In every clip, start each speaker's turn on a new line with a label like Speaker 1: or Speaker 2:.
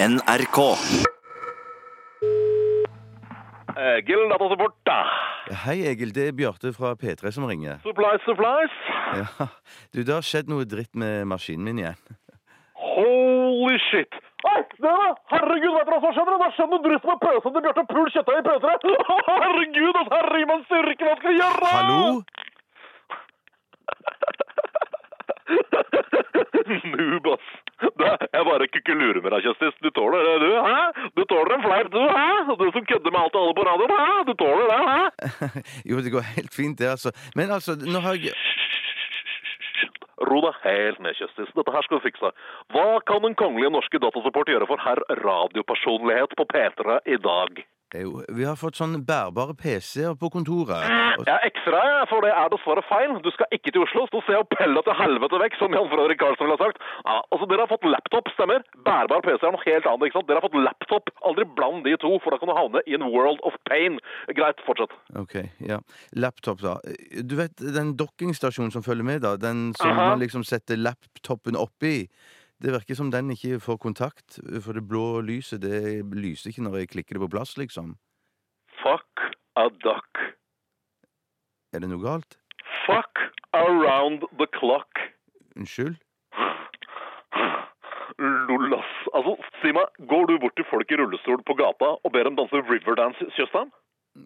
Speaker 1: NRK.
Speaker 2: Eh, Gild data support, da.
Speaker 3: Hei, Egil. Det er Bjarte fra P3 som ringer.
Speaker 2: Supplies, supplies.
Speaker 3: Ja. Du, det har skjedd noe dritt med maskinen min igjen.
Speaker 2: Holy shit. Hei, dere! Herregud, vet dere hva som skjedde? Det skjedde noe dritt med pøsen til Bjarte Pul Kjøttøy i pøsere. Herregud, altså, herre i min styrke, hva skal jeg gjøre?
Speaker 3: Hallo?
Speaker 2: Noob, ass. Det, jeg bare kukkelurer med deg, Kjøstis. Du tåler det, du, hæ? Du tåler en fleip, du, hæ? Du som kødder med alt og alle på radioen, hæ? Du tåler det, hæ?
Speaker 3: Jo, det går helt fint, det, altså. Men altså, nå har jeg
Speaker 2: Ro deg helt ned, Kjøstis. Dette her skal du fikse. Hva kan den kongelige norske datasupport gjøre for herr radiopersonlighet på P3 i dag?
Speaker 3: jo, Vi har fått sånn bærbare PC-er på kontoret.
Speaker 2: Jeg ekser deg, for det er dessverre feil. Du skal ikke til Oslo. Stå og se og pelle til helvete vekk, som Jan Fredrik Karlsen ville ha sagt. Ja, altså, dere har fått laptop, stemmer? Bærbar PC er noe helt annet, ikke sant? Dere har fått laptop. Aldri bland de to, for da kan du havne i en world of pain. Greit, fortsett.
Speaker 3: Ok, ja. Laptop, da. Du vet den dokkingstasjonen som følger med, da? Den som
Speaker 2: Aha.
Speaker 3: man liksom setter laptopen oppi? Det virker som den ikke får kontakt, for det blå lyset det lyser ikke når jeg klikker det på plass, liksom.
Speaker 2: Fuck a duck.
Speaker 3: Er det noe galt?
Speaker 2: Fuck around the clock.
Speaker 3: Unnskyld?
Speaker 2: Lol, ass. Altså, si meg, går du bort til folk i rullestol på gata og ber dem danse Riverdance, Tjøstheim?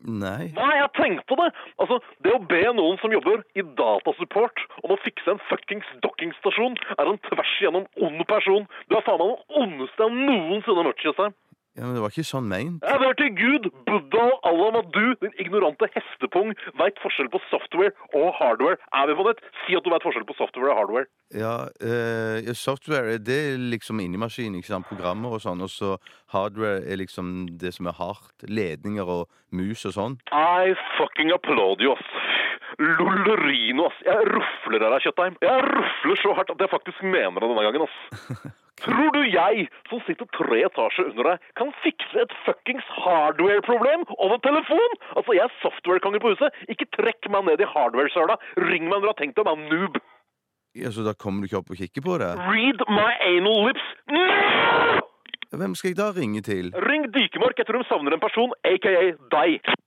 Speaker 3: Nei.
Speaker 2: Nei, jeg tenkte det! Altså, det å be noen som jobber i datasupport om å fikse en fuckings dockingstasjon, er en tvers igjennom ond person. Du er faen meg den ondeste jeg noensinne har møtt, Tjøstheim.
Speaker 3: Ja, men det var ikke sånn meint.
Speaker 2: Jeg ber til Gud, Buddha og Allah om at du, din ignorante hestepung, veit forskjell på software og hardware. Er vi på nett? Si at du veit forskjell på software og hardware.
Speaker 3: Ja, eh, ja, software det er liksom inni maskinen, ikke sant? programmer og sånn. Og så hardware er liksom det som er hardt. Ledninger og mus og sånn.
Speaker 2: I fucking applaud you, ass. Lollerino, ass. Jeg rufler av deg, Kjøttheim. Jeg rufler så hardt at jeg faktisk mener det denne gangen, ass. Tror du jeg, som sitter tre etasjer under deg, kan fikse et fuckings hardware-problem over telefon? Altså, jeg er software-kongen på huset. Ikke trekk meg ned i hardware-søla. Ring meg når du har tenkt deg, man noob.
Speaker 3: Ja, Så da kommer du ikke opp og kikker på det?
Speaker 2: Read my anal lips. No!
Speaker 3: Hvem skal jeg da ringe til?
Speaker 2: Ring Dykemark. Jeg tror de savner en person, aka deg.